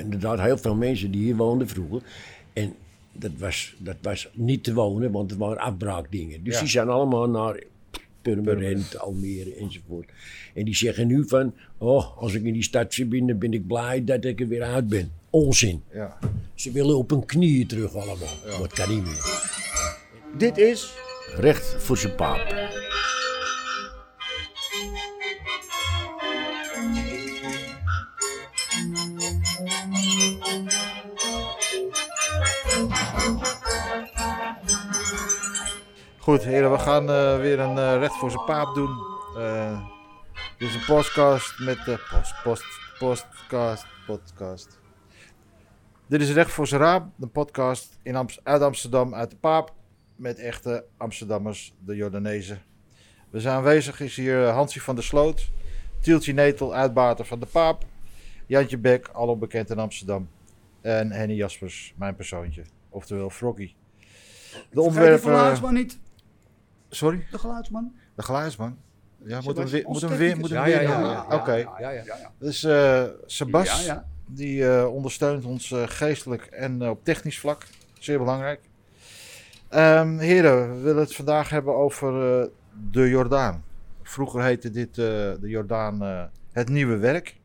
inderdaad heel veel mensen die hier woonden vroeger. En dat was, dat was niet te wonen, want het waren afbraakdingen. Dus Ja. die zijn allemaal naar Purmerend, Almere enzovoort. En die zeggen nu van, oh, als ik in die stad zit ben, dan ben ik blij dat ik er weer uit ben. Onzin. Ja. Ze willen op hun knieën terug allemaal. Dat kan niet meer. Dit is Recht voor zijn paap. Goed, heren, we gaan eh, weer een eh, recht voor zijn paap doen. Eh, dit is een podcast met de post, post, podcast, podcast. Dit is recht voor zijn raap, een podcast in Amst- uit Amsterdam, uit de paap, met echte Amsterdammers, de Jordanezen. We zijn aanwezig is hier eh, Hansie van der Sloot, Tieltje Netel, uitbater van de paap, Jantje Bek, alom bekend in Amsterdam, en Henny Jaspers, mijn persoontje, oftewel Froggy. De Vergeet die ontwerpen... geluidsman niet. Sorry? De geluidsman. De geluidsman. Ja, moet hem Sebastian, weer. Moet ons hem weer, moet technicus. hem Ja, weer ja, ja. doen. ja, Oké. Ja, ja, ja. Dus eh Sebas, Ja, ja. die eh, ondersteunt ons eh, geestelijk en eh, op technisch vlak. Zeer belangrijk. Ehm, heren, we willen het vandaag hebben over eh, de Jordaan. Vroeger heette dit eh, de Jordaan eh, het nieuwe werk.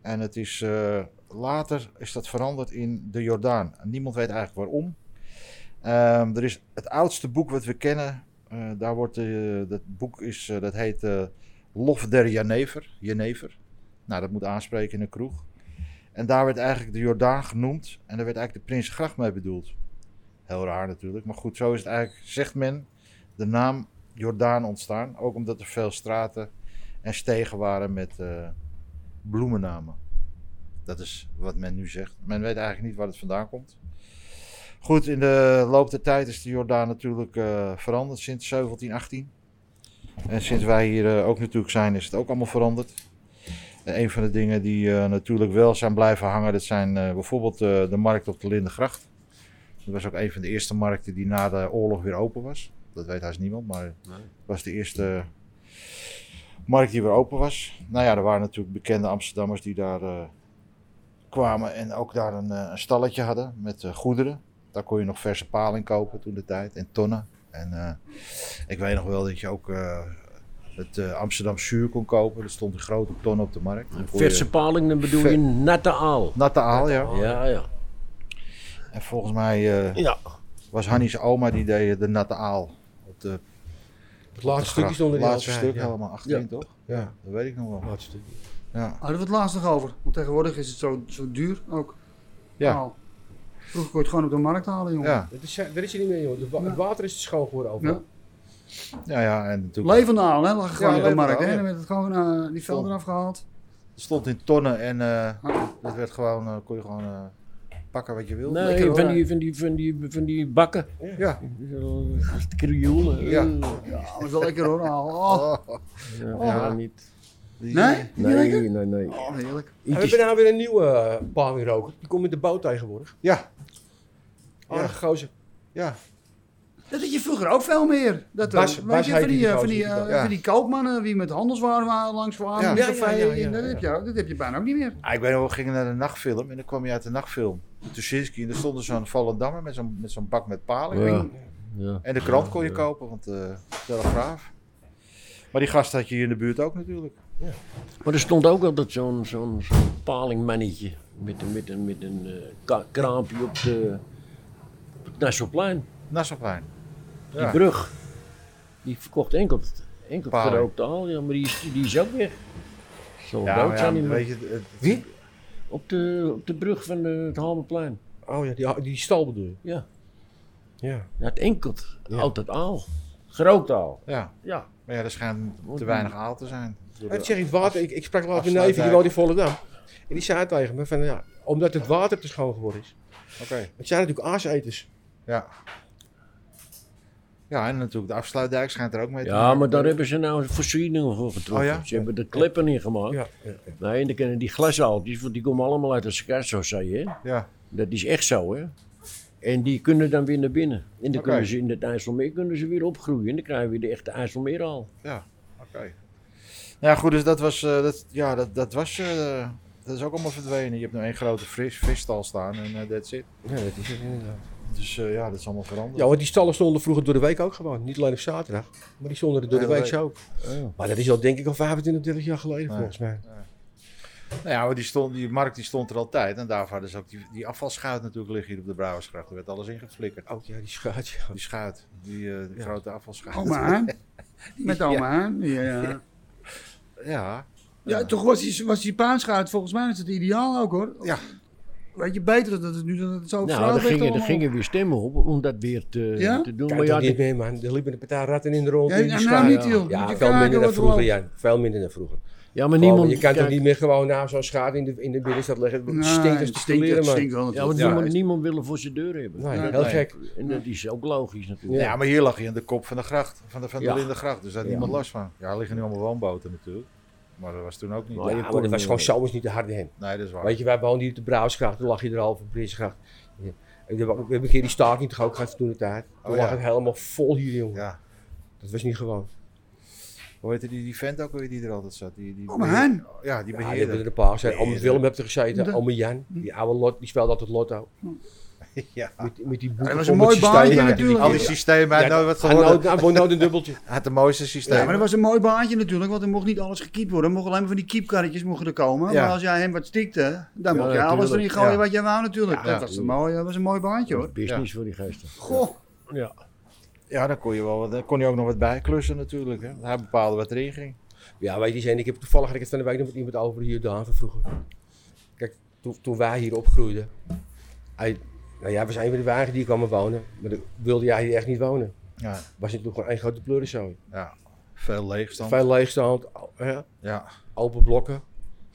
En het is eh, later is dat veranderd in de Jordaan. En niemand weet eigenlijk waarom. Ehm, er is het oudste boek wat we kennen. eh, daar wordt eh, dat boek is eh, dat heet eh, Lof der Jenever. Jenever. Nou, dat moet aanspreken in een kroeg. En daar werd eigenlijk de Jordaan genoemd. En daar werd eigenlijk de Prins Gracht mee bedoeld. Heel raar natuurlijk. Maar goed, zo is het eigenlijk, zegt men, de naam Jordaan ontstaan. Ook omdat er veel straten en stegen waren met eh, bloemennamen. Dat is wat men nu zegt. Men weet eigenlijk niet waar het vandaan komt. Goed, in de loop der tijd is de Jordaan natuurlijk eh, veranderd sinds 1718. En sinds wij hier eh, ook natuurlijk zijn, is het ook allemaal veranderd. Eh, een van de dingen die eh, natuurlijk wel zijn blijven hangen, dat zijn eh, bijvoorbeeld eh, de markt op de Lindengracht. Dat was ook een van de eerste markten die na de oorlog weer open was. Dat weet haast niemand, maar het was de eerste markt die weer open was. Nou ja, er waren natuurlijk bekende Amsterdammers die daar eh, kwamen en ook daar een, eh, een stalletje hadden met eh, goederen. Daar kon je nog verse paling kopen toen de tijd en tonnen. En eh, ik weet nog wel dat je ook eh, het eh, Amsterdam zuur kon kopen. Dat stond een grote ton op de markt. Dan kon je- Verse paling, dan bedoel je Ver- natte aal. Natte aal, ja. Ja, ja. En volgens mij eh, Ja. was Hannie's oma die deed de natte aal. Op de Het laatste stukje gracht. stond er in laatste altijd, stuk ja. helemaal achterin, Ja. toch? Ja, Dat weet ik nog wel. laatste stukje. Ja. Hadden we het laatst nog over. Want tegenwoordig is het zo, zo duur ook. Ja. Nou, vroeger kon je het gewoon op de markt halen, jongen. Ja. Dat is, dat is er niet meer, joh. De wa- Het water is schoon geworden overal. Ja. ja, ja, en natuurlijk. Levende aal, hè? Lag gewoon op de levende markt, aal, hè? ja. Dan werd het gewoon eh, die velden eraf gehaald. Het stond in tonnen en eh, Ah. dat werd gewoon, eh, kon je gewoon eh, pakken wat je wilde. Nee, Lekker, van hoor. die, van, die, van, die, van die bakken. Ja. Krioelen. Ja. Ja, dat is wel lekker hoor, aal. Oh, Oh, Ja, niet. die- eh, nee? Niet lekker? Nee, nee, nee. Oh, heerlijk. En we hebben nou weer een nieuwe eh, palmwieroker. Die komt met de boot tegenwoordig. Ja, Aardige gozer. ja. Dat had je vroeger ook veel meer. Dat eh, Bas- weet Bas je, heet van die, die eh, gozer van die, eh, die dat- van die koopmannen die met handelswaren waren, langs waren, Ja. in Ja, de ja, café. ja, ja, en dat, ja. Heb je, ook- dat heb je bijna ook niet meer. Ah, ik weet nog, wel, we gingen naar de nachtfilm en dan kwam je uit de nachtfilm. Tuschinski en er stond er zo'n Vallendammer met zo'n, met zo'n bak met palen. Ja. Ja. En de krant kon je kopen, want de Telegraaf. Maar die gast had je hier in de buurt ook natuurlijk. Maar er stond ook altijd zo'n zo'n zo'n palingmannetje met een, met een, met een eh, ka- kraampje op, de, op het Nassauplein, Nassauplein. die Ja. brug. Die verkocht enkel, enkel Paling. gerookte al, ja, maar die is, die is ook weg. Zo Ja, dood maar ja, zijn die man. weet je, het- het- Wie? Op de, op de brug van eh, het Halmeplein. Oh ja, die, die stal bedoel je? Ja, Ja. ja het enkelt. Ja. Altijd aal. Gerookt aal. Ja, Ja. maar ja, er schijnt te weinig aal te zijn. Door de- Ik zeg, het water, ik, ik sprak laatst met een Afsluitdijk. neef, die woont in Volendam. En die zei tegen me, van, ja, omdat het water te schoon geworden is. Oké. Het zijn natuurlijk aaseters. Ja. Ja, en natuurlijk de afsluitdijk schijnt er ook mee te Ja, maken. maar daar hebben ze nou voorzieningen voor getroffen. eh, Oh ja? Ze hebben de kleppen in gemaakt. Ja, ja. Nee, en dan kunnen die glasaaltjes, want die komen allemaal uit de Scarso, zei je. hè? Ja, Dat is echt zo, hè? En die kunnen dan weer naar binnen. En dan Oké. kunnen ze in het IJsselmeer kunnen ze weer opgroeien. En dan krijgen we weer de echte IJsselmeer al. ja. Oké. Nou Ja, goed, dus dat was, eh, dat, ja, dat, dat was eh, Dat is ook allemaal verdwenen. Je hebt nu één grote vis, visstal staan en eh, that's it. Ja, dat is het inderdaad. Dus eh, ja, dat is allemaal veranderd. Ja, want die stallen stonden vroeger door de week ook gewoon. Niet alleen op zaterdag, maar die stonden er door de Hele week week. ook. Maar dat is al denk ik al 25, 30 jaar geleden Ja. volgens mij. Nou ja, maar die, stond, die markt die stond er altijd. En daarvoor hadden ze ook die, die afvalschuit natuurlijk liggen hier op de Brouwersgracht. Er werd alles ingeflikkerd. Ook Oh, ja, die schuit. ja. Die schuit, die eh, die Ja. grote afvalschuit. Oma, hè? Met oma, hè? Ja, ja. Ja. ja, toch was die, was die paanschuit volgens mij is het ideaal ook, hoor. Ja. Weet je, beter dat het nu dan het zo Nou, vervuild daar werd gingen, daar allemaal. gingen weer stemmen op om dat weer te, Ja? te doen. Kijk maar toch ja, niet de- meer man, er liepen een paar ratten in de rond. Ja, in die nou, schuit. niet, joh. Ja, Moet je veel kijken minder dan wat er vroeger, loopt. Jan. Veel minder dan vroeger. ja, maar niemand... je kan toch kijk, niet meer gewoon naar zo'n schade in de, in de binnenstad leggen. Het Nee, stinkt als het de stinkt, het stinkt, man. stinkt ja, wel want natuurlijk. niemand, niemand wil hem voor zijn deur hebben. Nee, Nee, heel nee. gek. En dat is ook logisch natuurlijk. Ja, maar hier lag je in de kop van de gracht, van de, van de Ja. Lindengracht. Dus daar had Ja. niemand last van. Ja, er liggen nu allemaal woonboten natuurlijk. Maar dat was toen ook niet. Maar Ja, je maar kon dat hem was gewoon wel. zomers niet de harde hem. Nee, dat is waar. Weet je, wij woonden hier op de Brouwersgracht, toen lag je er al op Prinsgracht. Ja. Ik heb ook- We hebben een keer die staking toch ook gehad toen de tijd. Toen Oh, lag ja. het helemaal vol hier, jongen. Ja. Dat was niet gewoon. Hoe heette die, die vent ook weer die er altijd zat? Die, die Oma Hein. Ja, die Ja, die hebben beheerder. er een paar zijn. Ome Beheerder. Willem hebt er gezeten, Dat- ome Jan. Die oude lot, die speelde altijd lotto. Ja, Met, met die boeken was vol een met mooi systemen. baantje Ja, natuurlijk. Al die systemen, hij had nooit wat Hij had geworden. nou- hij won nou een dubbeltje. Hij had de mooiste systeem. Ja, maar dat was een mooi baantje natuurlijk, want er mocht niet alles gekiept worden. Er mocht alleen maar van die kiepkarretjes mochten er komen. Ja. Maar als jij hem wat stikte, dan mocht Ja, jij alles natuurlijk. erin gooien Ja. wat jij wou natuurlijk. Ja, dat was een mooi, dat was een mooi baantje hoor. Business voor die gasten. Goh, Ja. Ja, dan kon je, wel, wat- dan kon je ook nog wat bijklussen natuurlijk. Hè. Hij bepaalde wat erin ging. Ja, weet je, zijn, ik heb toevallig had ik het van de week nog met iemand over hier Daan van vroeger. Kijk, toen, toen wij hier opgroeiden, hij, nou ja, we zijn van de wagen die kwamen wonen, maar dan wilde jij hier echt niet wonen. Ja, Was het nog gewoon één grote pleuriszooi. ja. Veel leegstand. Veel leegstand, al- hè, Ja, open blokken,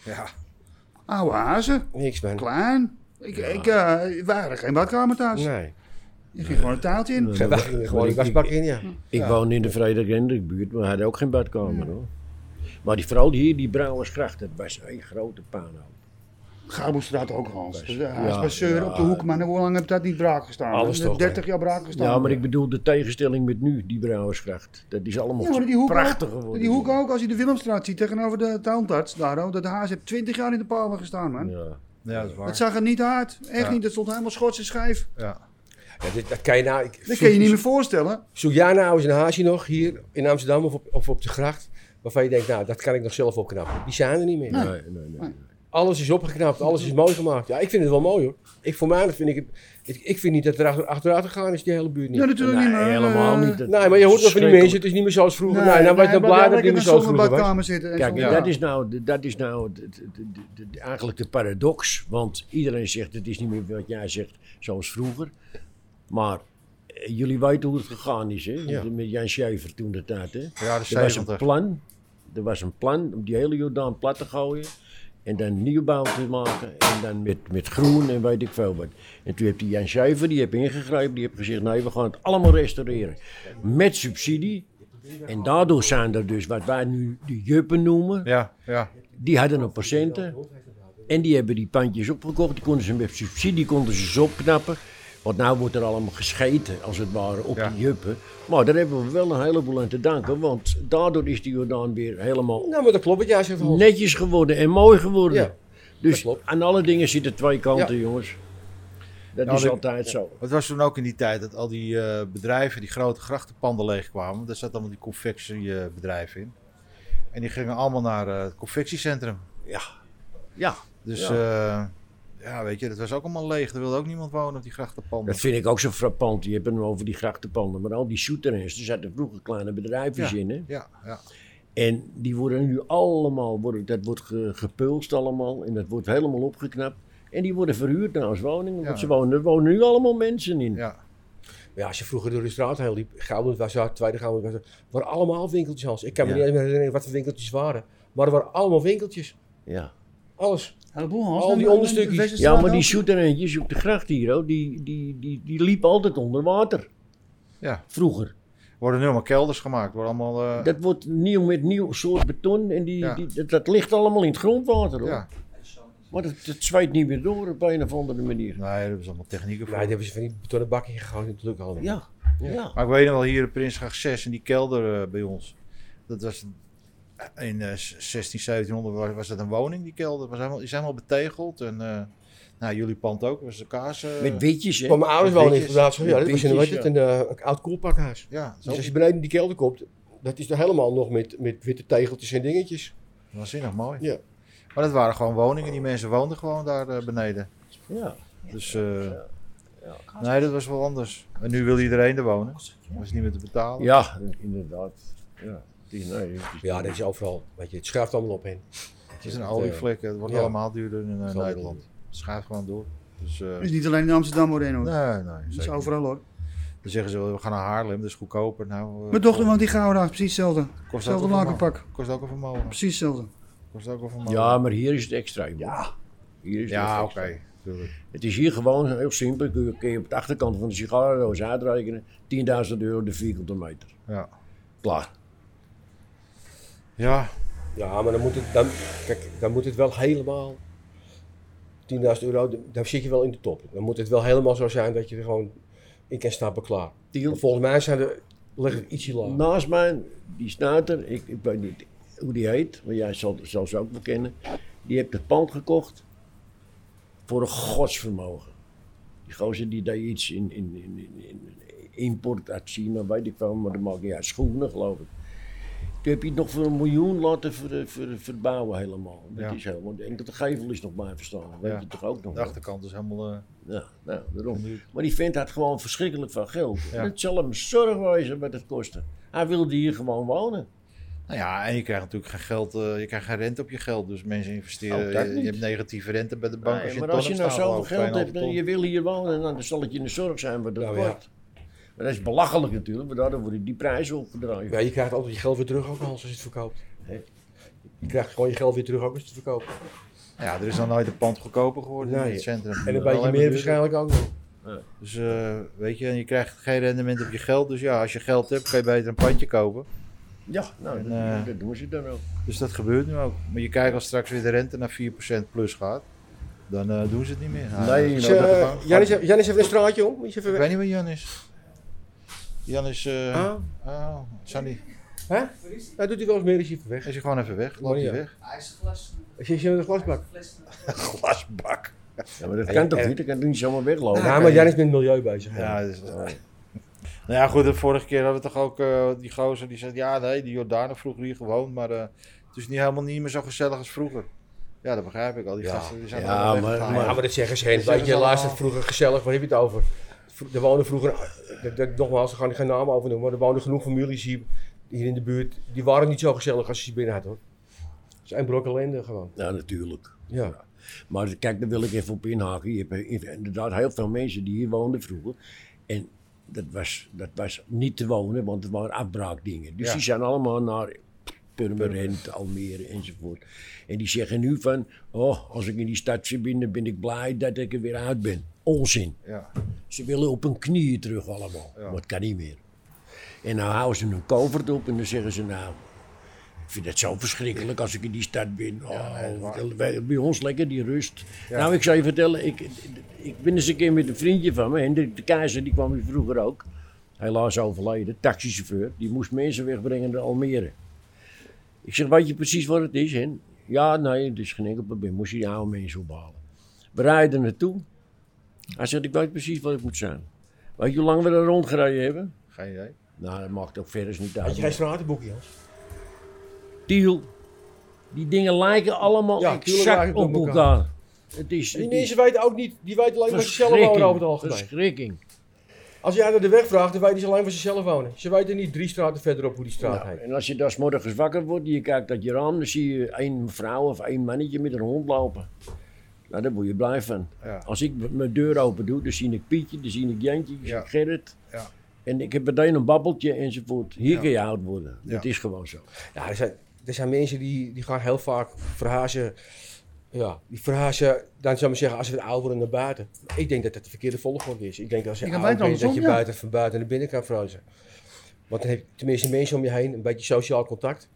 ja. oude hazen, niks man. klein. Ik, ik, eh wij hadden geen badkamer thuis. Nee, Je ging gewoon een taaltje in. Nee. geen wagen, gewoon een wasbak in, ja. Ik woonde in de Vrijdag Hendrikbuurt, maar hadden ook geen badkamer hoor. Maar die, vooral hier, die Brouwersgracht, dat was een grote pano. Gouwenstraat ook Hans. Dus, eh, Hij is Ja, bij Seuren op de ja. hoek, maar hoe lang heb dat niet braak gestaan? Alles toch, hè? 30 jaar braak gestaan. Ja, maar ik bedoel de tegenstelling met nu, die Brouwersgracht. Dat is allemaal Ja, maar die hoek prachtig ook, geworden. Die hoek ook, als je de Willemstraat ziet tegenover de tuinarts, daar, oh, dat haas heeft 20 jaar in de palmen gestaan man. Ja. ja, dat is waar. Dat zag er niet uit. Echt Ja. niet. Dat stond helemaal schots en schijf. Ja. Ja, dit- dat kan je nou, ik, Dat kun je niet meer voorstellen. Zoek jij nou eens een haasje nog hier in Amsterdam of op, of op de gracht, waarvan je denkt, nou, dat kan ik nog zelf opknappen. Die zijn er niet meer. Nee, nee, nee. nee. Alles is opgeknapt, alles is mooi gemaakt. Ja, ik vind het wel mooi hoor. Ik, voor mij vind ik het. Ik, ik vind niet dat er achter, achteruit gegaan is, die hele buurt niet. Ja, natuurlijk niet Nee, meer. helemaal eh, niet. Dat- nee, maar je hoort wel van die verschrikkelijk. mensen, het is niet meer zoals vroeger. Nee, nou, ben ik maar dan blij daar dat het lekker niet meer dan zoals zonder vroeger was. badkamer zitten. en Kijk, zonder- dat is nou, dat is nou het- het- het- het- het- eigenlijk de paradox. Want iedereen zegt, het is niet meer wat jij zegt zoals vroeger. Maar eh, jullie weten hoe het gegaan is, hè? Met, met Jan Schuiver toen de tijd, hè? Ja, de Er was een 70. plan. Er was een plan om die hele Jordaan plat te gooien. En dan nieuwbouw te maken. En dan met, met groen en weet ik veel wat. En toen heeft die Jan Schuiver, die heb ingegrepen. Die heeft gezegd, nee, we gaan het allemaal restaureren. Met subsidie. En daardoor zijn er dus wat wij nu de juppen noemen. Ja, ja. Die hadden een patiënten. En die hebben die pandjes opgekocht. Die konden ze met subsidie konden ze ze opknappen. Want nu wordt er allemaal gescheten, als het ware, op Ja. die juppen. Maar daar hebben we wel een heleboel aan te danken. Want daardoor is die Jordaan weer helemaal Nou, maar dat klopt wat jij zegt. Hans. netjes geworden en mooi geworden. Ja, dat dus klopt. aan alle dingen zitten twee kanten, jongens. Dat Ja, is Nou, dat- altijd zo. Het was toen ook in die tijd dat al die eh, bedrijven, die grote grachtenpanden leegkwamen. Daar zat allemaal die confectiebedrijven in. En die gingen allemaal naar eh, het confectiecentrum. Ja. Ja, Dus Ja. ja. ja, weet je, dat was ook allemaal leeg. Er wilde ook niemand wonen op die grachtenpanden. dat vind ik ook zo frappant. Je hebt het over die grachtenpanden. Maar al die soeterens, er zaten vroeger kleine bedrijfjes in, hè? Ja, ja. En die worden nu allemaal, worden, dat wordt ge- gepulst allemaal en dat wordt helemaal opgeknapt. En die worden verhuurd naar als woningen, want Ja. ze wonen, er wonen nu allemaal mensen in. ja. Ja, als je vroeger door de straat heel liep, Gouden was daar, Tweede Gouden was daar, waren allemaal winkeltjes Hans. Ik kan me Ja. niet eens meer herinneren wat voor winkeltjes waren, maar er waren allemaal winkeltjes. Ja. Alles. Heleboel, Hans. Al die En- en- onderstukjes. en Westerstraat nou ja, maar die ook. soeterentjes op de gracht hier, hoor, die, die, die, die liep altijd onder water. Ja. Vroeger. Worden nu allemaal kelders gemaakt. Worden allemaal, eh, Dat wordt nieuw met nieuw soort beton en die, Ja. die, dat, dat ligt allemaal in het grondwater hoor. ja. Maar het, het zweet niet meer door op een of andere manier. Nee, daar hebben ze allemaal technieken voor. Nou, die hebben ze van die betonnen bakken gegooid, dat lukt allemaal. Ja, ja. Maar ik weet nog wel hier in Prinsgracht 6 in die kelder eh, bij ons. Dat was in eh, 16, 1700 was, was dat een woning, die kelder. Was helemaal, is helemaal betegeld. En eh, nou, jullie pand ook, was de kaas. eh, Met witjes, hè? Van mijn ouders wonen in Witjes. plaats van, ja, dat was in Witjes, een, ja. wat, een, eh, een oud koelpakhuis. ja, zo Dus als je beneden in die kelder komt, dat is er helemaal nog met, met witte tegeltjes en dingetjes. waanzinnig mooi. Ja. Maar dat waren gewoon woningen, die mensen woonden gewoon daar eh, beneden. Ja. Dus eh, nee, dat was wel anders. En nu wil iedereen er wonen. Was niet meer te betalen. ja, inderdaad. Ja, het is, nou nee, het is- Ja, dat is overal. Weet je, het schuift allemaal op hen. Het is een olievlek, het wordt Ja. allemaal duurder in eh, allemaal Nederland. Het schuift gewoon door. Dus, eh, Het is niet alleen in Amsterdam hoor, Reno. nee, nee. Het is zeker overal hoor. niet. Dan zeggen ze, wel, we gaan naar Haarlem, dat is goedkoper. Nou, eh, Mijn dochter woont in Gouda, precies hetzelfde. kost ook Hetzelfde een vermogen. lakenpak. Kost ook een vermogen. Precies hetzelfde. Kost ook een vermogen. ja, maar hier is het extreem. hoor. Hier is het Ja, echt oké. extreem. tuurlijk. Het is hier gewoon heel simpel. Kun je, kun je op de achterkant van de sigarendoos uitrekenen. 10.000 euro de vierkante meter. Ja. Klaar. Ja, Ja, maar dan moet het, dan, kijk, dan moet het wel helemaal. 10.000 euro, d- dan zit je wel in de top. Dan moet het wel helemaal zo zijn dat je er gewoon in kan stappen klaar. Die- Want volgens mij zijn er, liggen er ietsje lager. Nou- Naast mij, die snuiter, ik, ik weet niet hoe die heet, maar jij zal, zal ze ook wel kennen. Die heeft het pand gekocht voor een godsvermogen. Die gozer die deed iets in, in, in, in- in import uit China, weet ik wel, maar dat maakt niet uit. Schoenen, geloof ik. Toen heb je het nog voor een miljoen laten ver, ver- verbouwen helemaal. Dat Ja. is helemaal. En de gevel is nog blijven staan. Weet Ja. je toch ook nog? de wel? achterkant is helemaal... eh, Ja, nou, daarom. Nu- Maar die vent had gewoon verschrikkelijk van geld. Ja. Het zal hem zorg wezen met het kosten. Hij wilde hier gewoon wonen. Nou ja, en je krijgt natuurlijk geen geld, eh, je krijgt geen rente op je geld. Dus mensen investeren, Oh, dat je, je niet. hebt negatieve rente bij de bank. Nee, als je maar een als je ton nou hebt staan, zoveel geloof ik, geld hebt 2,5 en je wil hier wonen, dan zal het je in de zorg zijn wat dat Nou, ja. wordt. Maar dat is belachelijk natuurlijk, want daardoor worden die prijzen opgedraaid. Ja, je krijgt altijd je geld weer terug ook al als je het verkoopt. Je krijgt gewoon je geld weer terug ook als je het verkoopt. ton. Ja, er is dan nooit een pand goedkoper geworden in Nee. het centrum. En een Alleen beetje maar duurder. meer waarschijnlijk ook nog. Dus eh, weet je, en je krijgt geen rendement op je geld. Dus ja, als je geld hebt, kan je beter een pandje kopen. Ja, nou, En, dat, eh, dat doen ze dan ook. Dus dat gebeurt nu ook. Maar je kijkt als straks weer de rente naar 4% plus gaat, dan eh, doen ze het niet meer. Nou, Nee, dat Dus, is nooit de eh, bank. Janis, Janis even een straatje om. Moet je even Ik weg. weet niet waar Jan is. Jan is... eh Ah, oh, zijn die- hè? Dat doet hij wel eens meer als je even weg. is hij gewoon even weg? Loopt hij Wanneer? weg? IJsglas. Zit je in de glasbak? Glasbak. Ja, maar dat Ja, kan toch eh, niet? Dat kan toch niet zomaar weglopen? Ja, maar Janis is met het milieu bezig. Ja, dus, Nou ja, goed, de vorige keer hadden we toch ook eh, die gozer die zei, ja nee, die Jordanen vroeger hier gewoond, maar eh, het is niet helemaal niet meer zo gezellig als vroeger. Ja, dat begrijp ik al. Die Ja. gasten die zijn Ja, allemaal maar- weggegaan. Ja, maar dat zeggen ze. Dat Hen. zeggen Weet ze je, laatst allemaal. het vroeger gezellig, waar heb je het over? Vro- Er woonden vroeger, dat- dat- nogmaals, daar ga ik geen namen over noemen, maar er woonden genoeg families hier, hier in de buurt. Die waren niet zo gezellig als je ze binnen had hoor. Het is een brok ellende gewoon. Ja, natuurlijk. Ja. Maar dus, kijk, daar wil ik even op inhaken. Je hebt eh, inderdaad heel veel mensen die hier woonden vroeger. En dat was, dat was niet te wonen, want het waren afbraakdingen. Dus Ja. die zijn allemaal naar Purmerend, Almere enzovoort. En die zeggen nu van, oh, als ik in die stad zit binnen, ben ik blij dat ik er weer uit ben. Onzin. Ja. Ze willen op hun knieën terug allemaal. Ja. Maar het kan niet meer. En nou houden ze hun covert op en dan zeggen ze nou... Ik vind het zo verschrikkelijk als ik in die stad ben. Oh, bij, bij ons lekker die rust. Nou, ik zou je vertellen, ik, ik ben eens een keer met een vriendje van me. Hendrik de Keizer, die kwam hier vroeger ook. Helaas overleden, taxichauffeur. Die moest mensen wegbrengen naar Almere. Ik zeg, weet je precies wat het is, Hen? Ja, nee, het is geen enkel probleem. Moest je die oude mensen ophalen. We rijden naartoe. Hij zegt, ik weet precies wat het moet zijn. Weet je hoe lang we daar rondgereden hebben? Geen idee. Nou, dat maakt ook verder niet Had je geen uit. stratenboek, Jans? Tiel, die dingen lijken allemaal Ja, tuurlijk exact lijken het op op elkaar. elkaar. Het is, Die het is mensen weten ook niet, die weten alleen waar ze zelf wonen over het verschrikking. algemeen. Verschrikking. Als jij naar de weg vraagt, dan weten ze alleen waar ze zelf wonen. Ze weten niet drie straten verderop hoe die straat Nou, heet. en als je daar 's morgens wakker wordt en je kijkt uit je raam, dan zie je één vrouw of één mannetje met een hond lopen. Nou, daar word je blij van. Ja. Als ik m- mijn deur open doe, dan zie ik Pietje, dan zie ik Jantje, dan zie Ja. ik Gerrit. Ja. En ik heb meteen een babbeltje enzovoort. Hier kun je oud worden. Ja. Dat is gewoon zo. Ja, er zijn, er zijn mensen die, die gaan heel vaak verhazen. Ja, die verhazen, dan zou ik zeggen, als we oud worden naar buiten. Ik denk dat dat de verkeerde volgorde is. Ik denk dat als je Ik heb oud bijna bent, dat je andersom, ja. buiten, van buiten naar binnen kan verhuizen. Want dan heb je tenminste mensen om je heen, een beetje sociaal contact.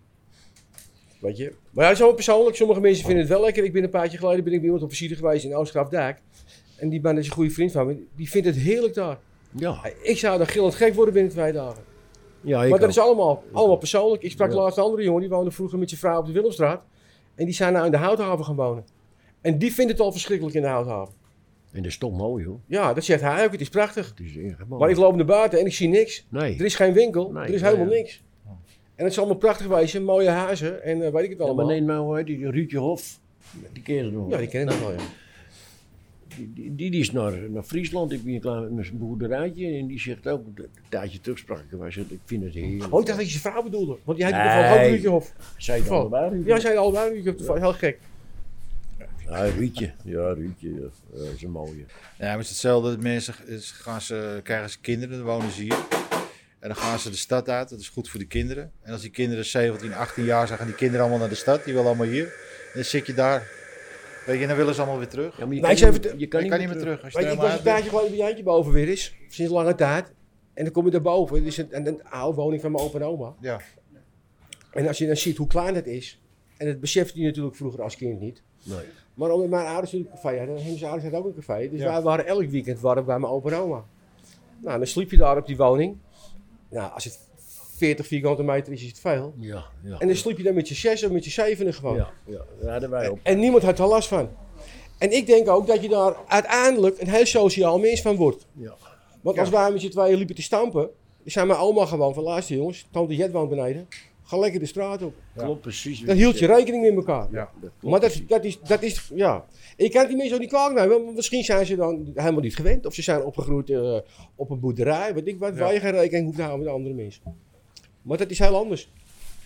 Weet je? Maar ja, dat is allemaal persoonlijk. Sommige mensen vinden het wel lekker. Ik ben een paardje geleden ben ik bij iemand op visite geweest in Oostgraafdijk. En die man is een goede vriend van me. Die vindt het heerlijk daar. Ja. Ik zou daar gillend gek worden binnen twee dagen. Ja, ik maar dat ook. is allemaal, allemaal persoonlijk. Ik sprak Ja. laatst een andere jongen, die woonde vroeger met zijn vrouw op de Willemstraat. En die zijn nou in de Houthaven gaan wonen. En die vindt het al verschrikkelijk in de Houthaven. En dat is toch mooi hoor. Ja, dat zegt hij ook, het is prachtig. Het is echt mooi. Maar ik loop naar buiten en ik zie niks. Nee. Er is geen winkel, Nee, er is ja, helemaal ja. niks. En het is allemaal prachtig wezen, mooie huizen en eh, weet ik het Ja, maar allemaal. Ja, neem nou, hoe heet die, Ruudje Hof. Die ken je nog. die ken ik nog wel, ja. Die- Die, die is naar, naar Friesland. Ik ben klaar met zijn boerderijtje. En die zegt ook, een tijdje terug sprak ik hem. Hij zegt, ik vind het heerlijk. Oh, ik dacht dat je zijn vrouw bedoelde. Want jij Nee. had nee. ook Ruudje Hof. Zij dan Oh. allebei, Ruudje? Ja, zij allebei Ruudje Hof. Dat is Heel gek. Ja, Ruudje. Ja, Ruudje. Ja, Ja, dat is een mooie. Ja, maar het is hetzelfde. dat Mensen ze gaan ze, krijgen ze kinderen, dan wonen ze hier. En dan gaan ze de stad uit, dat is goed voor de kinderen. En als die kinderen 17, 18 jaar zijn, gaan die kinderen allemaal naar de stad. Die willen allemaal hier. En dan zit je daar. Weet je, en dan willen ze allemaal weer terug. Ja, maar je Maar kan, ik zei niet, even- je Dan kan niet meer terug. Als je Weet er je, ik helemaal was een uit tijdje geleden dat Jantje boven weer is. Sinds lange tijd. En dan kom je daarboven. Het is een, een, een oude woning van mijn opa en oma. bent. Ja. En als je dan ziet hoe klein het is. En dat besefte je natuurlijk vroeger als kind niet. Nee. Maar omdat mijn ouders natuurlijk een café hadden, en zijn ouders hadden ook een café. Dus Ja. wij waren elk weekend waren we bij mijn opa en oma. Nou, dan sliep je daar op die woning. Nou, als het 40 vierkante meter is, is het veel. Ja, ja. En dan sliep je daar met je zes of met je zevenen gewoon. ja, ja, daar hadden wij op. En niemand had er last van. En ik denk ook dat je daar uiteindelijk een heel sociaal mens van wordt. Ja. Want als wij met z'n tweeën liepen te stampen, zei mijn oma gewoon van luister jongens, tante Jet woont beneden, ga lekker de straat op. Klopt precies. wat Dan je hield je zegt. rekening met elkaar. Ja. Dat klopt Maar dat, precies. dat, is, dat is, ja. Ik kan die mensen ook niet kwalijk nemen, want misschien zijn ze dan helemaal niet gewend. Of ze zijn opgegroeid eh, op een boerderij, weet ik wat, waar Ja. je geen rekening hoeft te houden met andere mensen. Maar dat is heel anders.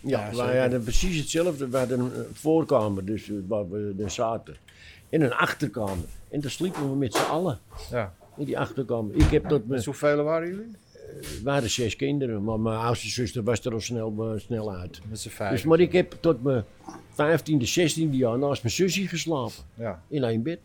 Ja, wij hadden precies hetzelfde. We hadden een eh, voorkamer, dus eh, waar we dan zaten. En een achterkamer. En daar sliepen we met z'n allen. ja. In die achterkamer. Ik heb tot mijn... Dus hoeveel waren jullie? We waren zes kinderen, maar mijn oudste zuster was er al snel, eh, snel uit. Met z'n vijf. Dus, maar ik heb tot mijn 15e, 16e jaar naast mijn zusje geslapen. Ja. In één bed.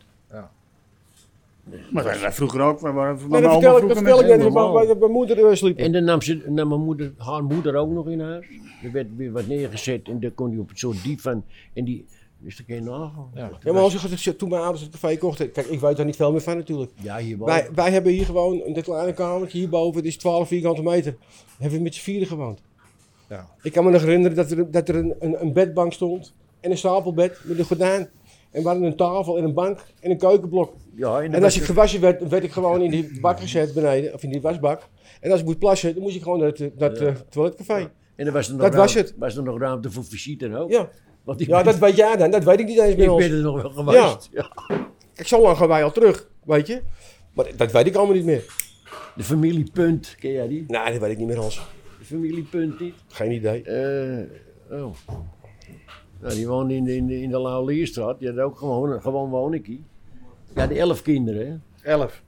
Maar wij, wij vroeger ook. Wij waren, Maar mijn dat oma vertel ik, dat vroeger vertel ik met- net dat helemaal. mijn- dat mijn moeder eh, sliep. En dan nam, ze, nam mijn moeder, haar moeder ook nog in huis. Er werd weer wat neergezet en daar kon hij op het soort diep van. En die, dus dat kun je nagaan. Ja. Ja, maar als ik het- toen mijn ouders het café kochten, kijk, ik weet daar niet veel meer van natuurlijk. Ja, hier wel. Wij, wij hebben hier gewoon een kleine kamertje hierboven, het is 12 vierkante meter. Hebben we met z'n vieren gewoond. Ja. Ik kan me nog herinneren dat er, dat er een, een, een bedbank stond en een stapelbed met een gordijn. En we hadden een tafel en een bank en een keukenblok. Ja, en, En als ik gewassen werd, werd ik gewoon in die bak gezet beneden, of in die wasbak. En als ik moet plassen, dan moest ik gewoon naar het, naar het eh, toiletcafé. en dan was er nog dat was ruimte- het. Was er nog ruimte voor visite ook? Ja. Want ik, ja, dat weet jij dan, dat weet ik niet eens ik meer. ben ons. er nog wel geweest. Ja. Kijk, zo lang gaan wij al terug, weet je. Maar dat weet ik allemaal niet meer. De familie Punt, ken jij die? Nee, dat weet ik niet meer, Hans. De familie Punt niet? Geen idee. Eh, oh. Nou, die woonde in de, in de, in de Laulierstraat. Die had ook gewoon, gewoon woninkie. Ja, de elf kinderen. hè. Elf.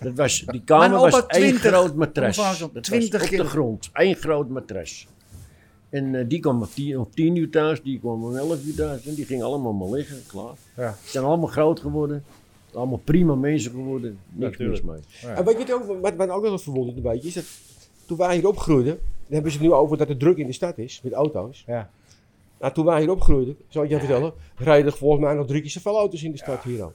Dat was, die Mijn kamer opa was één 20. groot matras. Mijn opa was Dat al was 20 op de kinderen. grond. Eén groot matras. En eh, die kwam om tien, om tien uur thuis, die kwam om elf uur thuis. En die gingen allemaal maar liggen, klaar. Ja. Ze zijn allemaal groot geworden. Allemaal prima mensen geworden. Niks Natuurlijk. mis mee. En weet je het ook, wat mij ook wel verwonderd een beetje is dat toen wij hier opgroeiden, dan hebben ze het nu over dat er druk in de stad is met auto's. Ja. Nou, toen wij hier opgroeiden, zal ik je vertellen, rijden er volgens mij nog drie keer zoveel auto's in de stad hier al.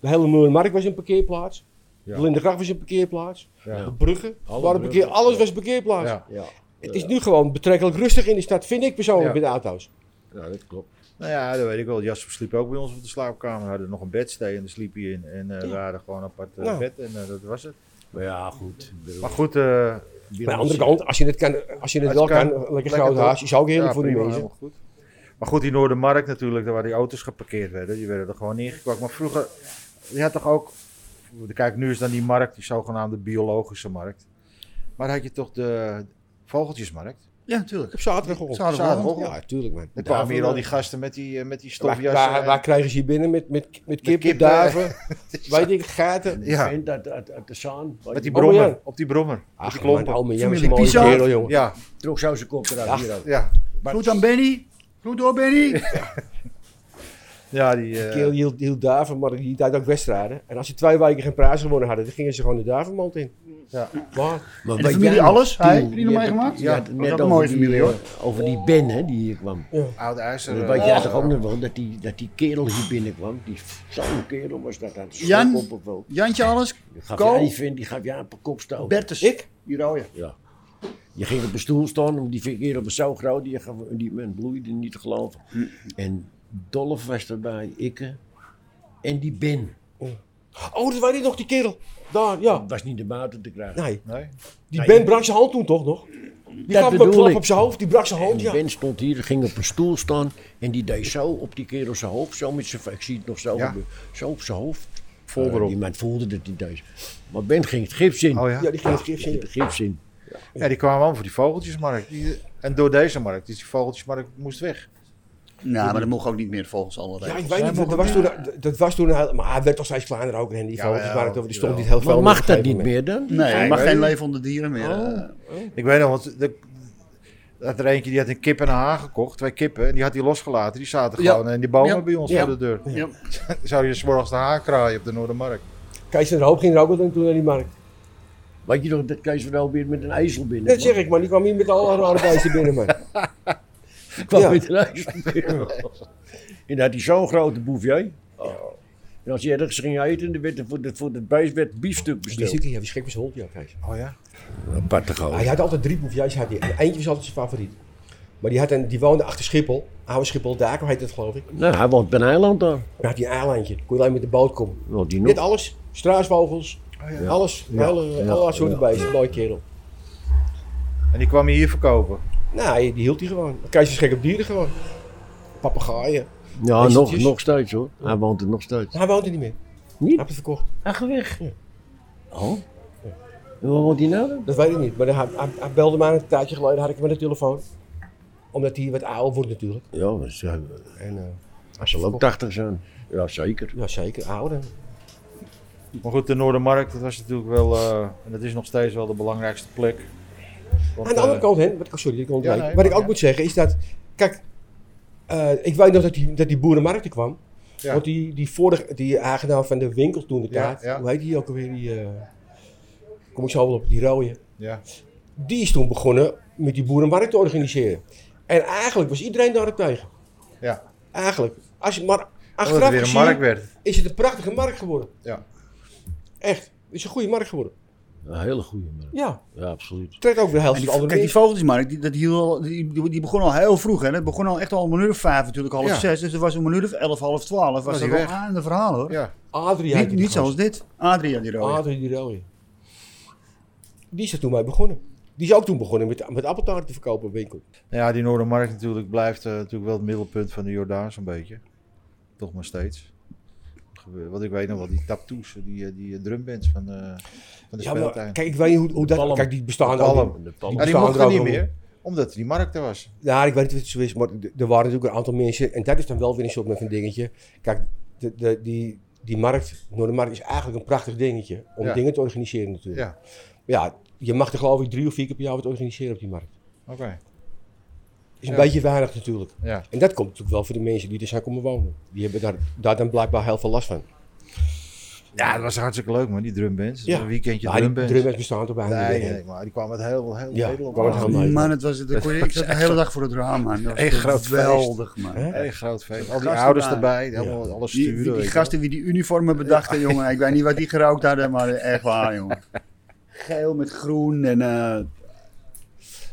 De hele Moerenmarkt was een parkeerplaats. Ja. De Lindengracht was een parkeerplaats. Ja. De bruggen, Alle waren bruggen. parkeer, alles was een parkeerplaats. Ja. Ja, Het is nu gewoon betrekkelijk rustig in de stad, vind ik persoonlijk Ja. met auto's. ja, dat klopt. Nou ja, dat weet ik wel. Jasper sliep ook bij ons op de slaapkamer. We hadden nog een bedstee en daar sliep hij in. En eh, we hadden gewoon een apart eh, Ja. bed en eh, dat was het. Maar ja, goed. ik bedoel, Maar goed, eh, Willem Maar aan de andere zit- kant, als je het, kan, als je het Als wel je kan, kan, lekker lekker groot toch? haas, is ook heerlijk Ja, voor die prima, mensen. helemaal goed. Maar goed, die Noordermarkt natuurlijk, daar waar die auto's geparkeerd werden, die werden er gewoon neergekwakt. Maar vroeger, je had toch ook, kijk nu is dan die markt, die zogenaamde biologische markt. Maar had je toch de vogeltjesmarkt? Ja, natuurlijk. Op zaterdagochtend. Zaterdagochtend. Ja, tuurlijk man. Dan kwamen hier al die gasten met die, eh, met die Waar, stofjassen. waar, waar krijgen ze hier binnen met, met, met, kippen, kippen. duiven, weet ik, gaten? Die Ja. vent uit, uit, uit de Zaan. met die Oh, brommer, ja. op die brommer. met die Ach, klompen. man, Alme Jan is Familie een mooie Pizarro. kerel, jongen. ja, Trok zou zijn kop eruit. Ach. hier ook. ja. Groet aan Benny. Groet door Benny. Ja, die... eh, Die kerel hield, hield duiven, maar die tijd ook wedstrijden. En als ze twee weken geen prijs gewonnen hadden, dan gingen ze gewoon de duivenmand in. Ja. Maar, Maar En de weet jij familie nog, Alles, hij, Tiel, vrienden je hebt- meegemaakt? je had Ja, het dat net is ook over een mooie die, familie, hoor. eh, Over die Ben, hè, die hier kwam. Oud IJzer. Dat eh, weet jij toch ja. ook nog wel, dat die, dat die kerel hier binnenkwam. Die zo'n kerel was dat. dat zo'n Jan? kop op wel. Jantje Alles. Die gaf Ko? jij die vent, die gaf jij een paar kopstoten. Bertus. ik? Die rode. Ja. Je ging op een stoel staan, om die verkeerde was zo groot, die, gaf- die men bloeide niet te geloven. En Dolf was erbij, ikke en die Ben. Oh, dat was dit nog, die kerel. Daar, ja. Was niet naar buiten te Nou, krijgen. Nee. Nee? Die Nee. Ben brak zijn hand toen toch nog? Die Dat gaf een bedoel klap ik. op zijn hoofd, die brak zijn En hoofd, die ja. Ben stond hier, ging op een stoel staan en die deed zo op die kerel zijn hoofd, zo met zijn, ik zie het nog zo, Ja. gebeuren, zo op zijn hoofd. Vol Eh, erop. die man voelde dat hij deed. Maar Ben ging het gips in. Oh ja. Ja, ja. die ging het gif Ging in. het gips in. die kwamen allemaal voor die vogeltjesmarkt. Die- en door deze markt. Dus die vogeltjesmarkt moest weg. Nou, maar dat mocht ook niet meer volgens allerlei. Ja, ik weet niet, dat was, toen, dat- dat was toen een heel- Maar hij werd toch steeds kleiner ook, en die Jawel, vogeltjesmarkt, die stond jawel. niet heel Maar veel. meer mag op een dat gegeven niet moment. meer dan? Nee, je mag weet geen het. levende dieren meer. eh. Ik weet nog, want de, dat er eentje die had een kip en een haan gekocht. Twee kippen. En die had hij losgelaten. Die zaten Ja. gewoon in die bomen Ja. bij ons Ja. voor de deur. ja. Zou je s'morgens de haan kraaien op de Noordermarkt. Kees van der Hoop ging er ook wel toen naar die markt. Weet je nog dat Kees van Elbeert met een ijzel binnen Dat zeg ik, man. Die kwam hier met alle rare beesten binnen, man. Ik kwam Ja. met een ijzel binnen. En dan had hij zo'n grote bouvier. Oh. En als je ergens ging eten, dan werd er voor, de, voor het beest werd biefstuk Die besteld. zieke, ja, die schrik was hond, ja, Kees. Oh ja? Aparte gozer. Hij had altijd drie boefjes, had hij. En Eentje was altijd zijn favoriet. Maar die, had een, die woonde achter Schiphol. Oude Schiphol, Daken heet het, geloof ik. Nou, hij woont bij een eiland daar. Dan had hij een eilandje. Kon je alleen met de boot komen. Woont hij Dit nog. alles. Struisvogels. ja. Alles. Alle, Ja. alle soorten Ja. beesten. Mooi kerel. En die kwam je hier verkopen. Nee, die hield Nou, hij gewoon. Kees is gek op dieren gewoon. Papegaaien. Ja, Is het nog, dus? nog steeds hoor. Hij woont er nog steeds. Hij woont er niet meer. Hij Niet? heeft het verkocht. Ach, weg. Oh. En waar woont hij nou dan? Dat weet ik niet. Maar hij, hij, hij belde mij een tijdje geleden. Had ik hem aan de telefoon. Omdat hij wat ouder wordt natuurlijk. Ja, maar ze En, eh, hij zal ook 80 zijn. Ja, zeker. ja, zeker. Ouder. Maar goed, de Noordermarkt, dat was natuurlijk wel, eh, en dat is nog steeds wel de belangrijkste plek. Want, Aan de eh, andere kant, hè, wat, ik- sorry, dat ik ontwijk. Ja, nee, wat ik maar ook ja. moet zeggen is dat. Kijk, eh, ik weet nog dat die, dat die boerenmarkt er kwam. Ja. Want die, die vorige, die eigenaar van de winkel toen de Ja, tijd, ja. hoe heet die ook alweer? Die, eh, kom ik zo wel op, die rode. Ja, Die is toen begonnen met die boerenmarkt te organiseren. En eigenlijk was iedereen daar tegen. ja. Eigenlijk. Als je maar Omdat het achteraf Oh, weer een gezien, markt werd. is het een prachtige markt geworden. Ja. Echt. Het is een goede markt geworden. Een hele goede man. Ja. Ja, absoluut. Trekt ook weer de helft En die, van de andere kijk, die mensen. vogeltjesmarkt, die, dat hield al- die, die, die begon al heel vroeg. Hè? Dat begon al echt al om een uur of vijf natuurlijk, half Ja. zes. Dus er was om een uur of elf, half twaalf. Was Was hij er al weg. aan de verhaal hoor. Ja, Adrie Niet, heette die niet gast. zoals dit. Adriaan die rode. Adrie Ah, die rode. Die is er toen mee begonnen. Die is ook toen begonnen met, met appeltaarten te verkopen op winkel. ja die Noordermarkt natuurlijk blijft eh, natuurlijk wel het middelpunt van de Jordaan zo'n beetje. Toch maar steeds. Gebe- Want ik weet nog wel, die tattoos, die, eh, die eh, drumbands van, eh, van de Ja, maar speeltuin. kijk, ik weet niet hoe, hoe dat... Palm. Kijk, die bestaan Palm. al. De die ja, die bestaan mochten er ook niet nog. meer, omdat die markt er was. Ja, ik weet niet of het zo is, maar d- er waren natuurlijk een aantal mensen... En dat is dan wel weer een soort met een dingetje. Kijk, de, de, die, die markt, Noordermarkt, is eigenlijk een prachtig dingetje. Om Ja. dingen te organiseren natuurlijk. Ja, Ja. je mag er geloof ik drie of vier keer per jaar wat organiseren op die markt. oké. Is een Ja. beetje weinig natuurlijk. Ja. En dat komt natuurlijk wel voor de mensen die er zijn komen wonen. Die hebben daar, daar dan blijkbaar heel veel last van. ja, dat was hartstikke leuk man, die drumbands. Ja. Een weekendje Maar die drumbands. drumbands bestaan toch bijna Nee, niet meer, hè? nee, maar die kwamen uit heel, heel Ja, Nederland. kwamen uit heel Man, Nee. het was, dat kon je- ik zat de hele dag voor het raam, man. Dat was Echt groot geweldig, man. Hè? Een groot feest. Al die Gasten ouders bij. erbij, helemaal alles Die, sturen. die, weet die je gasten die die uniformen bedachten, jongen. Ik weet niet wat die gerookt hadden, maar echt waar, jongen. Geel met groen en... eh, wel.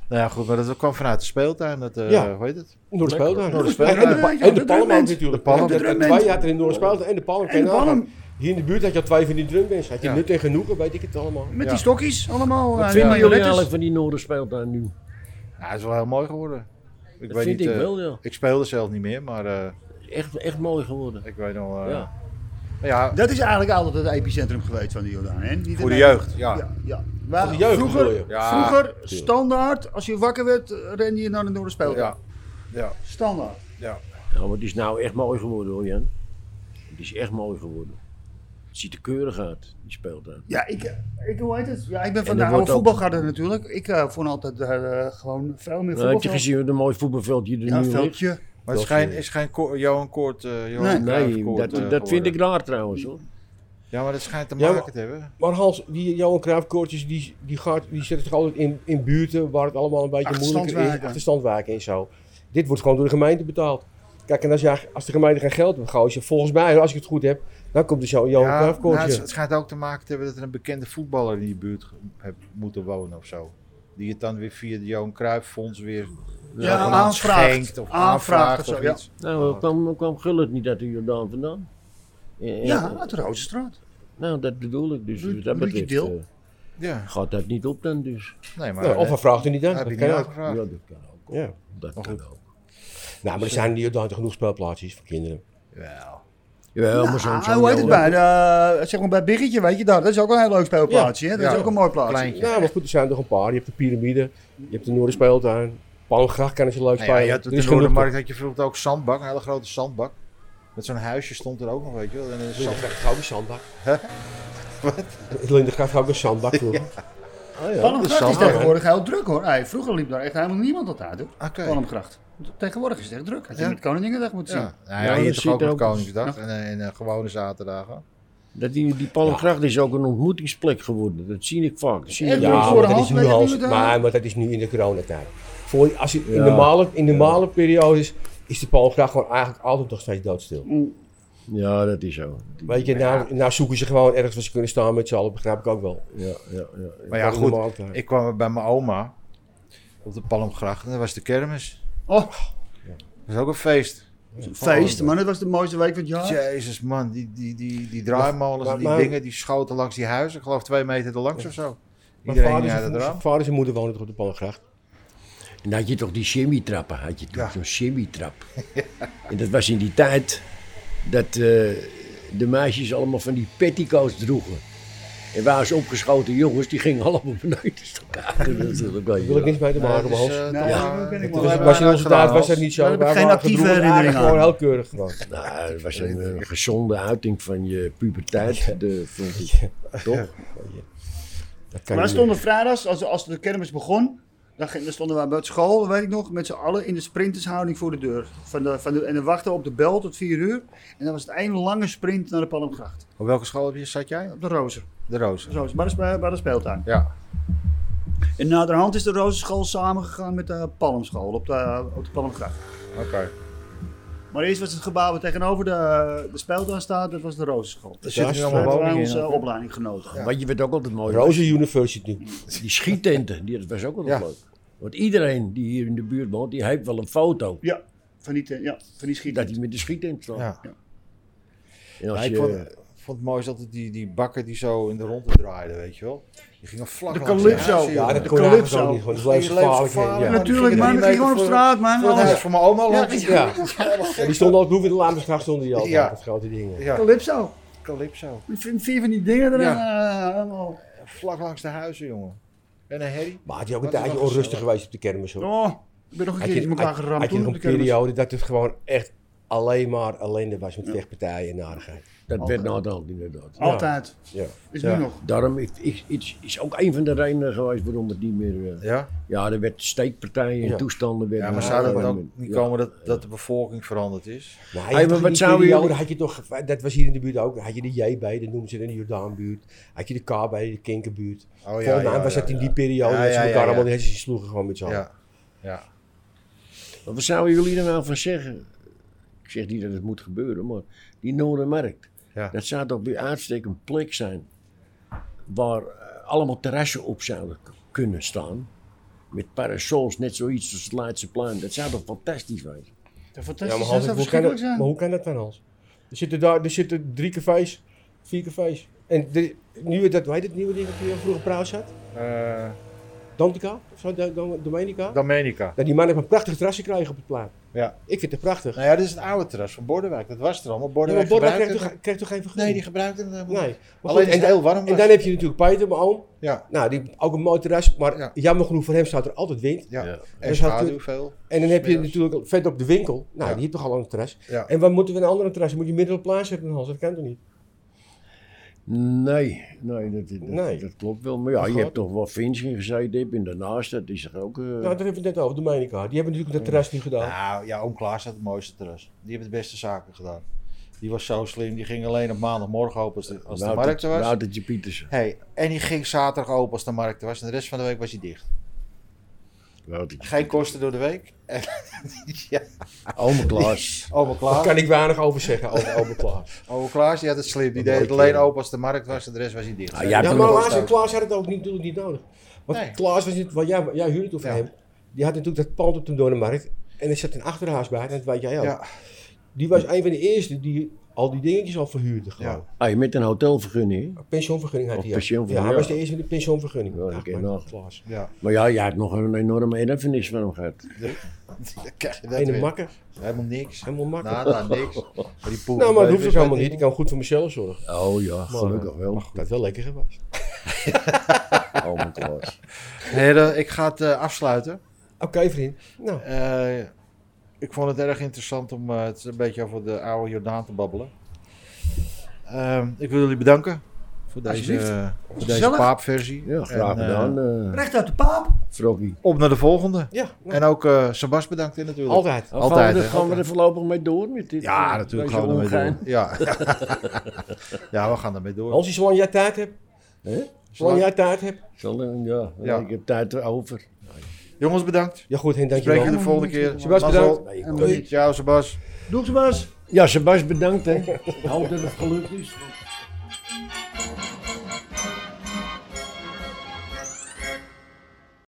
Nou ja, goed, maar dat kwam vanuit de speeltuin. Dat, eh Ja. Hoe heet het? Noorderspeeltuin. Noorderspeeltuin. En, en de, pa- Ja, ja, en de de Palm drumbands. natuurlijk. De Palm. Ja, De er- drumbands. Twee had er in Noorderspeeltuin en de Palm. En de Ken je Palm. nagaan. Hier in de buurt had je al twee van die drumbands. Had je Ja. nut en genoegen, weet ik het allemaal. Met Ja. die stokjes allemaal. eh, Wat vinden jullie marionettes. eigenlijk van die Noorden speeltuin nu? Ja, het is wel heel mooi geworden. Ik Dat vind ik eh, wel, ja. Ik speelde zelf niet meer, maar eh, Echt, echt mooi geworden. ik weet nog... eh, Ja. maar ja, Dat is eigenlijk altijd het epicentrum geweest van de Jordaan. Hè? Niet voor de in- jeugd, ja. Ja, ja. Waar- Voor de jeugd bedoel je? vroeger, Ja. vroeger standaard, als je wakker werd, eh, rende je naar de Noorderspeel. Ja, ja, Standaard. ja. Ja, maar het is nou echt mooi geworden hoor, Jan. Het is echt mooi geworden. Het ziet er keurig uit, die Nou, speeltuin. Ja, ik, eh, ik, hoe heet het? Ja, ik ben van En de er wordt oude ook- voetbalgarde natuurlijk. Ik eh, vond altijd eh, gewoon veel meer Nou, heb voetbal. je gezien wat een mooi voetbalveldje er Ja, een nu ligt? veldje. Maar het is Dat, geen, eh, is geen Ko- Johan Koort, eh Johan Nee. Nee, Cruijff-koord, dat, eh, dat vind geworden. ik raar trouwens hoor. Ja, maar dat schijnt te Ja, maken maar- te hebben. Maar Hans, die Johan Cruijff-koortjes, die, die, gaat- die zetten zich altijd in, in buurten waar het allemaal een beetje moeilijker is. Achterstandswijken. Achterstandwijken en zo. Dit wordt gewoon door de gemeente betaald. Kijk, en als, jij, als de gemeente geen geld heeft, je volgens mij, als ik het goed heb, dan komt er zo'n Johan Ja, nou, Cruijff-koortje. het, het schijnt ook te maken te hebben dat er een bekende voetballer in die buurt ge- heb moeten wonen of zo. Die Die het dan weer via de Johan Cruijff Fonds weer Ja, aan aanvraagt. schenkt of Aanvraagt aanvraagt of of zo, ja. iets. Nou, kwam, kwam Gullit niet uit de Jordaan vandaan? Eh, eh, Ja, uit de Rode Straat. Nou, dat bedoel ik dus. Ruud- Dus dat Ruudje betreft, Dil. eh, Ja, gaat dat niet op dan dus? nee, maar Nou, of hè, hij vraagt er niet aan. heb je Dat niet kan ook. Ja, aangevraagd. dat kan ook. hoor. Ja. Dat Maar kan goed. ook. Nou, maar er zijn hier dan genoeg speelplaatsjes voor kinderen. Wel. Jawel, maar zo'n... Ah, zo'n hoe heet het jongen- bij? de, eh, zeg maar bij Biggetje, weet je dat? Dat is ook een heel leuk speelplaatsje. hè? Dat is Ja. ook een mooi plaatsje. Kleintje. Ja, Nou, maar goed, er zijn toch een paar. Je hebt de piramide, je hebt de Noorderspeeltuin. Palmgracht kan ze leuk Nou ja, spelen. je had Er op de is genoeg Noordermarkt had je vroeger ook zandbak, een hele grote zandbak. Met zo'n huisje stond er ook nog, weet je wel. En een Lindengracht zand- gaf ook een zandbak. Wat? Lindengracht gaf ook een zandbak vroeger. Oh ja, Palmgracht de is zandbak. tegenwoordig heel druk hoor. Hey, vroeger liep daar echt helemaal niemand dat uit hoor. Oké. Palmgracht. Tegenwoordig is het echt druk. Had je Ja. met Koninginnedag moeten zien. Ja, nou Ja, ja, dat hier toch ziet ook nog ook- Koningsdag en, eh, en eh, gewone zaterdagen. Dat die, die Palmgracht is ook een ontmoetingsplek geworden. Dat zie ik vaak. Dat zie ik Echt? wel. Ja, voor maar de dat, is hand nu met al, die medaille. maar, maar dat is nu in de coronatijd. Voor, als je, in, Ja. normale, in normale periodes is de Palmgracht gewoon eigenlijk altijd nog steeds doodstil. Mm. Ja, dat is zo. Weet je, nou, nou zoeken ze gewoon ergens waar ze kunnen staan met z'n allen, begrijp ik ook wel. Ja, ja, ja. Maar ja, Dat is goed, normaal ook daar. ik kwam bij mijn oma op de Palmgracht en dat was de kermis. Oh, Dat was ook een feest. feest. Maar dat was de mooiste week van het jaar. Jezus man, die, die, die, die draaimolens, Maar- en die maar- dingen, die schoten langs die huizen. Ik geloof twee meter erlangs of zo. Mijn Iedereen vader, ging uit zijn, het zijn raam. vader en moeder wonen toch op de Palmgracht. En dan had je toch die shimmytrappen, had je toch Ja. zo'n shimmytrap. En dat was in die tijd dat eh, de meisjes allemaal van die petticoats droegen. En waar ze opgeschoten jongens, die gingen allemaal beneden elkaar. Dat is natuurlijk wel Daar wil ik niks mee te maken, Nee, maar dat Hans. is, eh, Nee, toch, ja, eh, ben ik het wel is- was, wij was in waren onze tijd was uitgehaald. dat niet zo. Daar heb ik Wij geen waren actieve gedroegd, herinnering eigenlijk Gewoon aan. heel keurig gewoon. Nou, dat was een, eh, gezonde uiting van je puberteit, de, vond ik. Toch? Dat Maar wij kan niet meer. stonden vrijdags, als, als de kermis begon, dan, ging- dan stonden wij bij school, dat weet ik nog, met z'n allen in de sprintershouding voor de deur. Van de, van de, en dan wachten we op de bel tot vier uur. En dan was het één lange sprint naar de Palmgracht. Op welke school heb je, zat jij? Op de Rozen. De Rozen. Rozen, bij de, spe- bij de speeltuin. Ja. En naderhand is de Rozenschool samengegaan met de Palmschool op de, op de Palmgracht. Oké. Maar eerst was het gebouw waar tegenover de, de speeltuin staat, dat was de Rozenschool. Er Daar zitten nu allemaal hebben wij woningen onze in. opleiding genoten. Want je werd ook altijd mooi. Rozen University. Die schiettenten, die, dat was ook altijd Ja. leuk. Want iedereen die hier in de buurt woont, die heeft wel een foto. Ja, van die, te- ja, van die schieten. Dat hij met de schietent staat. Ja. En als Ja, ik je- vond, ik vond het mooi is altijd die, die bakken die zo in de ronde draaiden, weet je wel. Die gingen vlak De langs Calypso. huizen, Ja, joh. dat De kon je eigenlijk Calypso. ook niet. Gewoon, dat Die bleef gevaarlijk. levensgevaarlijk. Ja. Dan gingen Natuurlijk, er man, drie dat ging meter gewoon op voor- straat, man. Voor het Alles. huis van mijn oma langs. Ja. En die stonden al goed in de Lamersgracht stonden die altijd. Ja. Dat grote dingen. Ja, Calypso. Calypso. Vier van die dingen eraan. eh, allemaal. Vlak langs de huizen, jongen. En een herrie. Maar had je ook een Dat is tijdje wel onrustig gezellig. geweest op de kermis hoor. Oh, ik ben nog een Had keer je, in had, elkaar geramd had je toen nog op een de kermis. periode dat het gewoon echt alleen maar ellende was met vechtpartijen en narigheid. dat werd nou dan inderdaad. Altijd. Ja. Is Ja. nu nog. Daarom is, is, is, is ook een van de redenen geweest waarom het niet meer. eh, Ja, ja, er werd steekpartijen en Ja. toestanden. Werden ja maar zou dat Ja. ook niet Ja. komen dat, dat de bevolking veranderd is? Maar Hey, maar wat wat zou zouden periode, jullie- had je toch, dat was hier in de buurt ook, had je de JB, dat noemen ze in de Jordaanbuurt. Had je de KB, de Kinkerbuurt. Oh Volgens mij was dat in die periode Ja, dat ze ja, elkaar ja, ja. allemaal de hersens sloegen gewoon met z'n allen. Ja, ja. Maar Wat zouden jullie er nou van zeggen? Ik zeg niet dat het moet gebeuren, maar die Noordermarkt. Ja. Dat zou toch bij uitstek een plek zijn waar eh, allemaal terrassen op zouden k- kunnen staan. Met parasols, net zoiets als het Leidse plein. Dat zou toch fantastisch zijn? Ja, Ja, maar, Fantastisch, dat Hans, zou hoe kan dat, verschrikkelijk maar zijn. hoe kan dat dan, Hans? Er zitten, daar, er zitten drie cafés, vier cafés. En de, nieuwe, dat, hoe heet het nieuwe ding dat je vroeger praat had? Eh, Dantica? Of zo, Do- Do- Domenica? Domenica. Dat die man heeft een prachtig terrasje krijgen op het plein. Ja. Ik vind het prachtig. Nou ja, dit is het oude terras van Bordewijk. Dat was er allemaal. Ja, Bordewijk, maar Borla gebruikte krijgt toch, krijgt toch geen het- Nee, die vergunning? gebruikte het helemaal Nee. niet. Maar goed, Alleen is en, het heel warm. en was. dan heb je natuurlijk Peter, mijn oom. Ja, Nou, die, ook een mooi terras, maar Ja. jammer genoeg voor hem staat er altijd wind. ja. En Dus schaduw natuurlijk- veel. En dan heb je Smiddags. natuurlijk vet op de winkel. Nou, Ja. die heeft toch al een terras. Ja. En waar moeten we een andere terras? Moet je midden op plaats zetten, Hans? Dat kan toch niet? Nee, nee, dat, dat, Nee. dat klopt wel. Maar ja, Dat je gaat. hebt toch wel Vins in gezeten hebt en daarnaast, dat is toch ook... eh, Nou, daar hebben we het net over, de Domenica. Die hebben natuurlijk dat terras nu gedaan. Nou, ja, oom Klaas had het mooiste terras. Die hebben de beste zaken gedaan. Die was zo slim. Die ging alleen op maandagmorgen open als de, als Nou, de Woutertje- markt er was. Woutertje Pietersen. Hey, en die ging zaterdag open als de markt er was. En de rest van de week was hij dicht. Woutertje. Geen kosten door de week. Ome Klaas. Oma Daar Klaas. kan ik weinig over zeggen, over Albert Klaas. Oma Klaas, die had het slim. Die Een deed het mooi alleen kerel. open als de markt was. De rest was hij dicht. Ah, jij hebt Ja, hem maar nog- Klaas, Klaas had het ook niet, natuurlijk niet nodig. Want Nee. Klaas was niet, want jij, jij huurde toen van Ja. hem. Die had natuurlijk dat pand op de Doornenmarkt. En er zat een achterhuis bij, dat weet jij ook. Ja. Die was een van de eerste die al die dingetjes al verhuurde. Gewoon. Hey, met een hotelvergunning. hè? Pensioenvergunning had Of hij. ja. pensioenvergunning, ja, hij was ja. de eerste met de pensioenvergunning. Ja, dat Ach, ken man, je nog. Klaas. Ja, Maar ja, jij hebt nog een enorme erfenis van hem gehad. dan krijg je dat Ene weer. makker, Helemaal niks. Nou, helemaal makker. Nada, niks. Maar die poel- nou, maar dat hoeft weet ook helemaal je- niet. Ik kan goed voor mezelf zorgen. Oh ja, Maar, gelukkig eh, wel. Dat is wel lekker geweest. Ome Klaas. Heren, ik ga het eh, afsluiten. Oké, vriend. Nou, Eh, ik vond het erg interessant om eh, het een beetje over de oude Jordaan te babbelen. Ehm, ik wil jullie bedanken voor deze, eh, Alsjeblieft. voor deze Gezellig. paapversie. Ja, graag En, eh, gedaan, eh Recht uit de paap. Froggy. Op naar de volgende. ja. nou, En ook eh Sebas bedankt hè, natuurlijk. altijd. Altijd, gaan we, hè? er, gaan we er voorlopig mee door met dit? Ja, eh, natuurlijk deze gaan we ermee ongein? door. Ja. ja, we gaan ermee door. Als je zolang jij tijd hebt, Hè? zolang jij tijd hebt. Zal, eh, ja, Ja. ik heb tijd over. Jongens, bedankt. Ja goed, Henk, Spreken dankjewel. we de volgende keer. Sebas, Mazzel. bedankt. Nee, Doei. Ciao, Sebas. Doe ze maar eens. Ja, Sebas, bedankt hè. Ik hoop dat het gelukt is. want-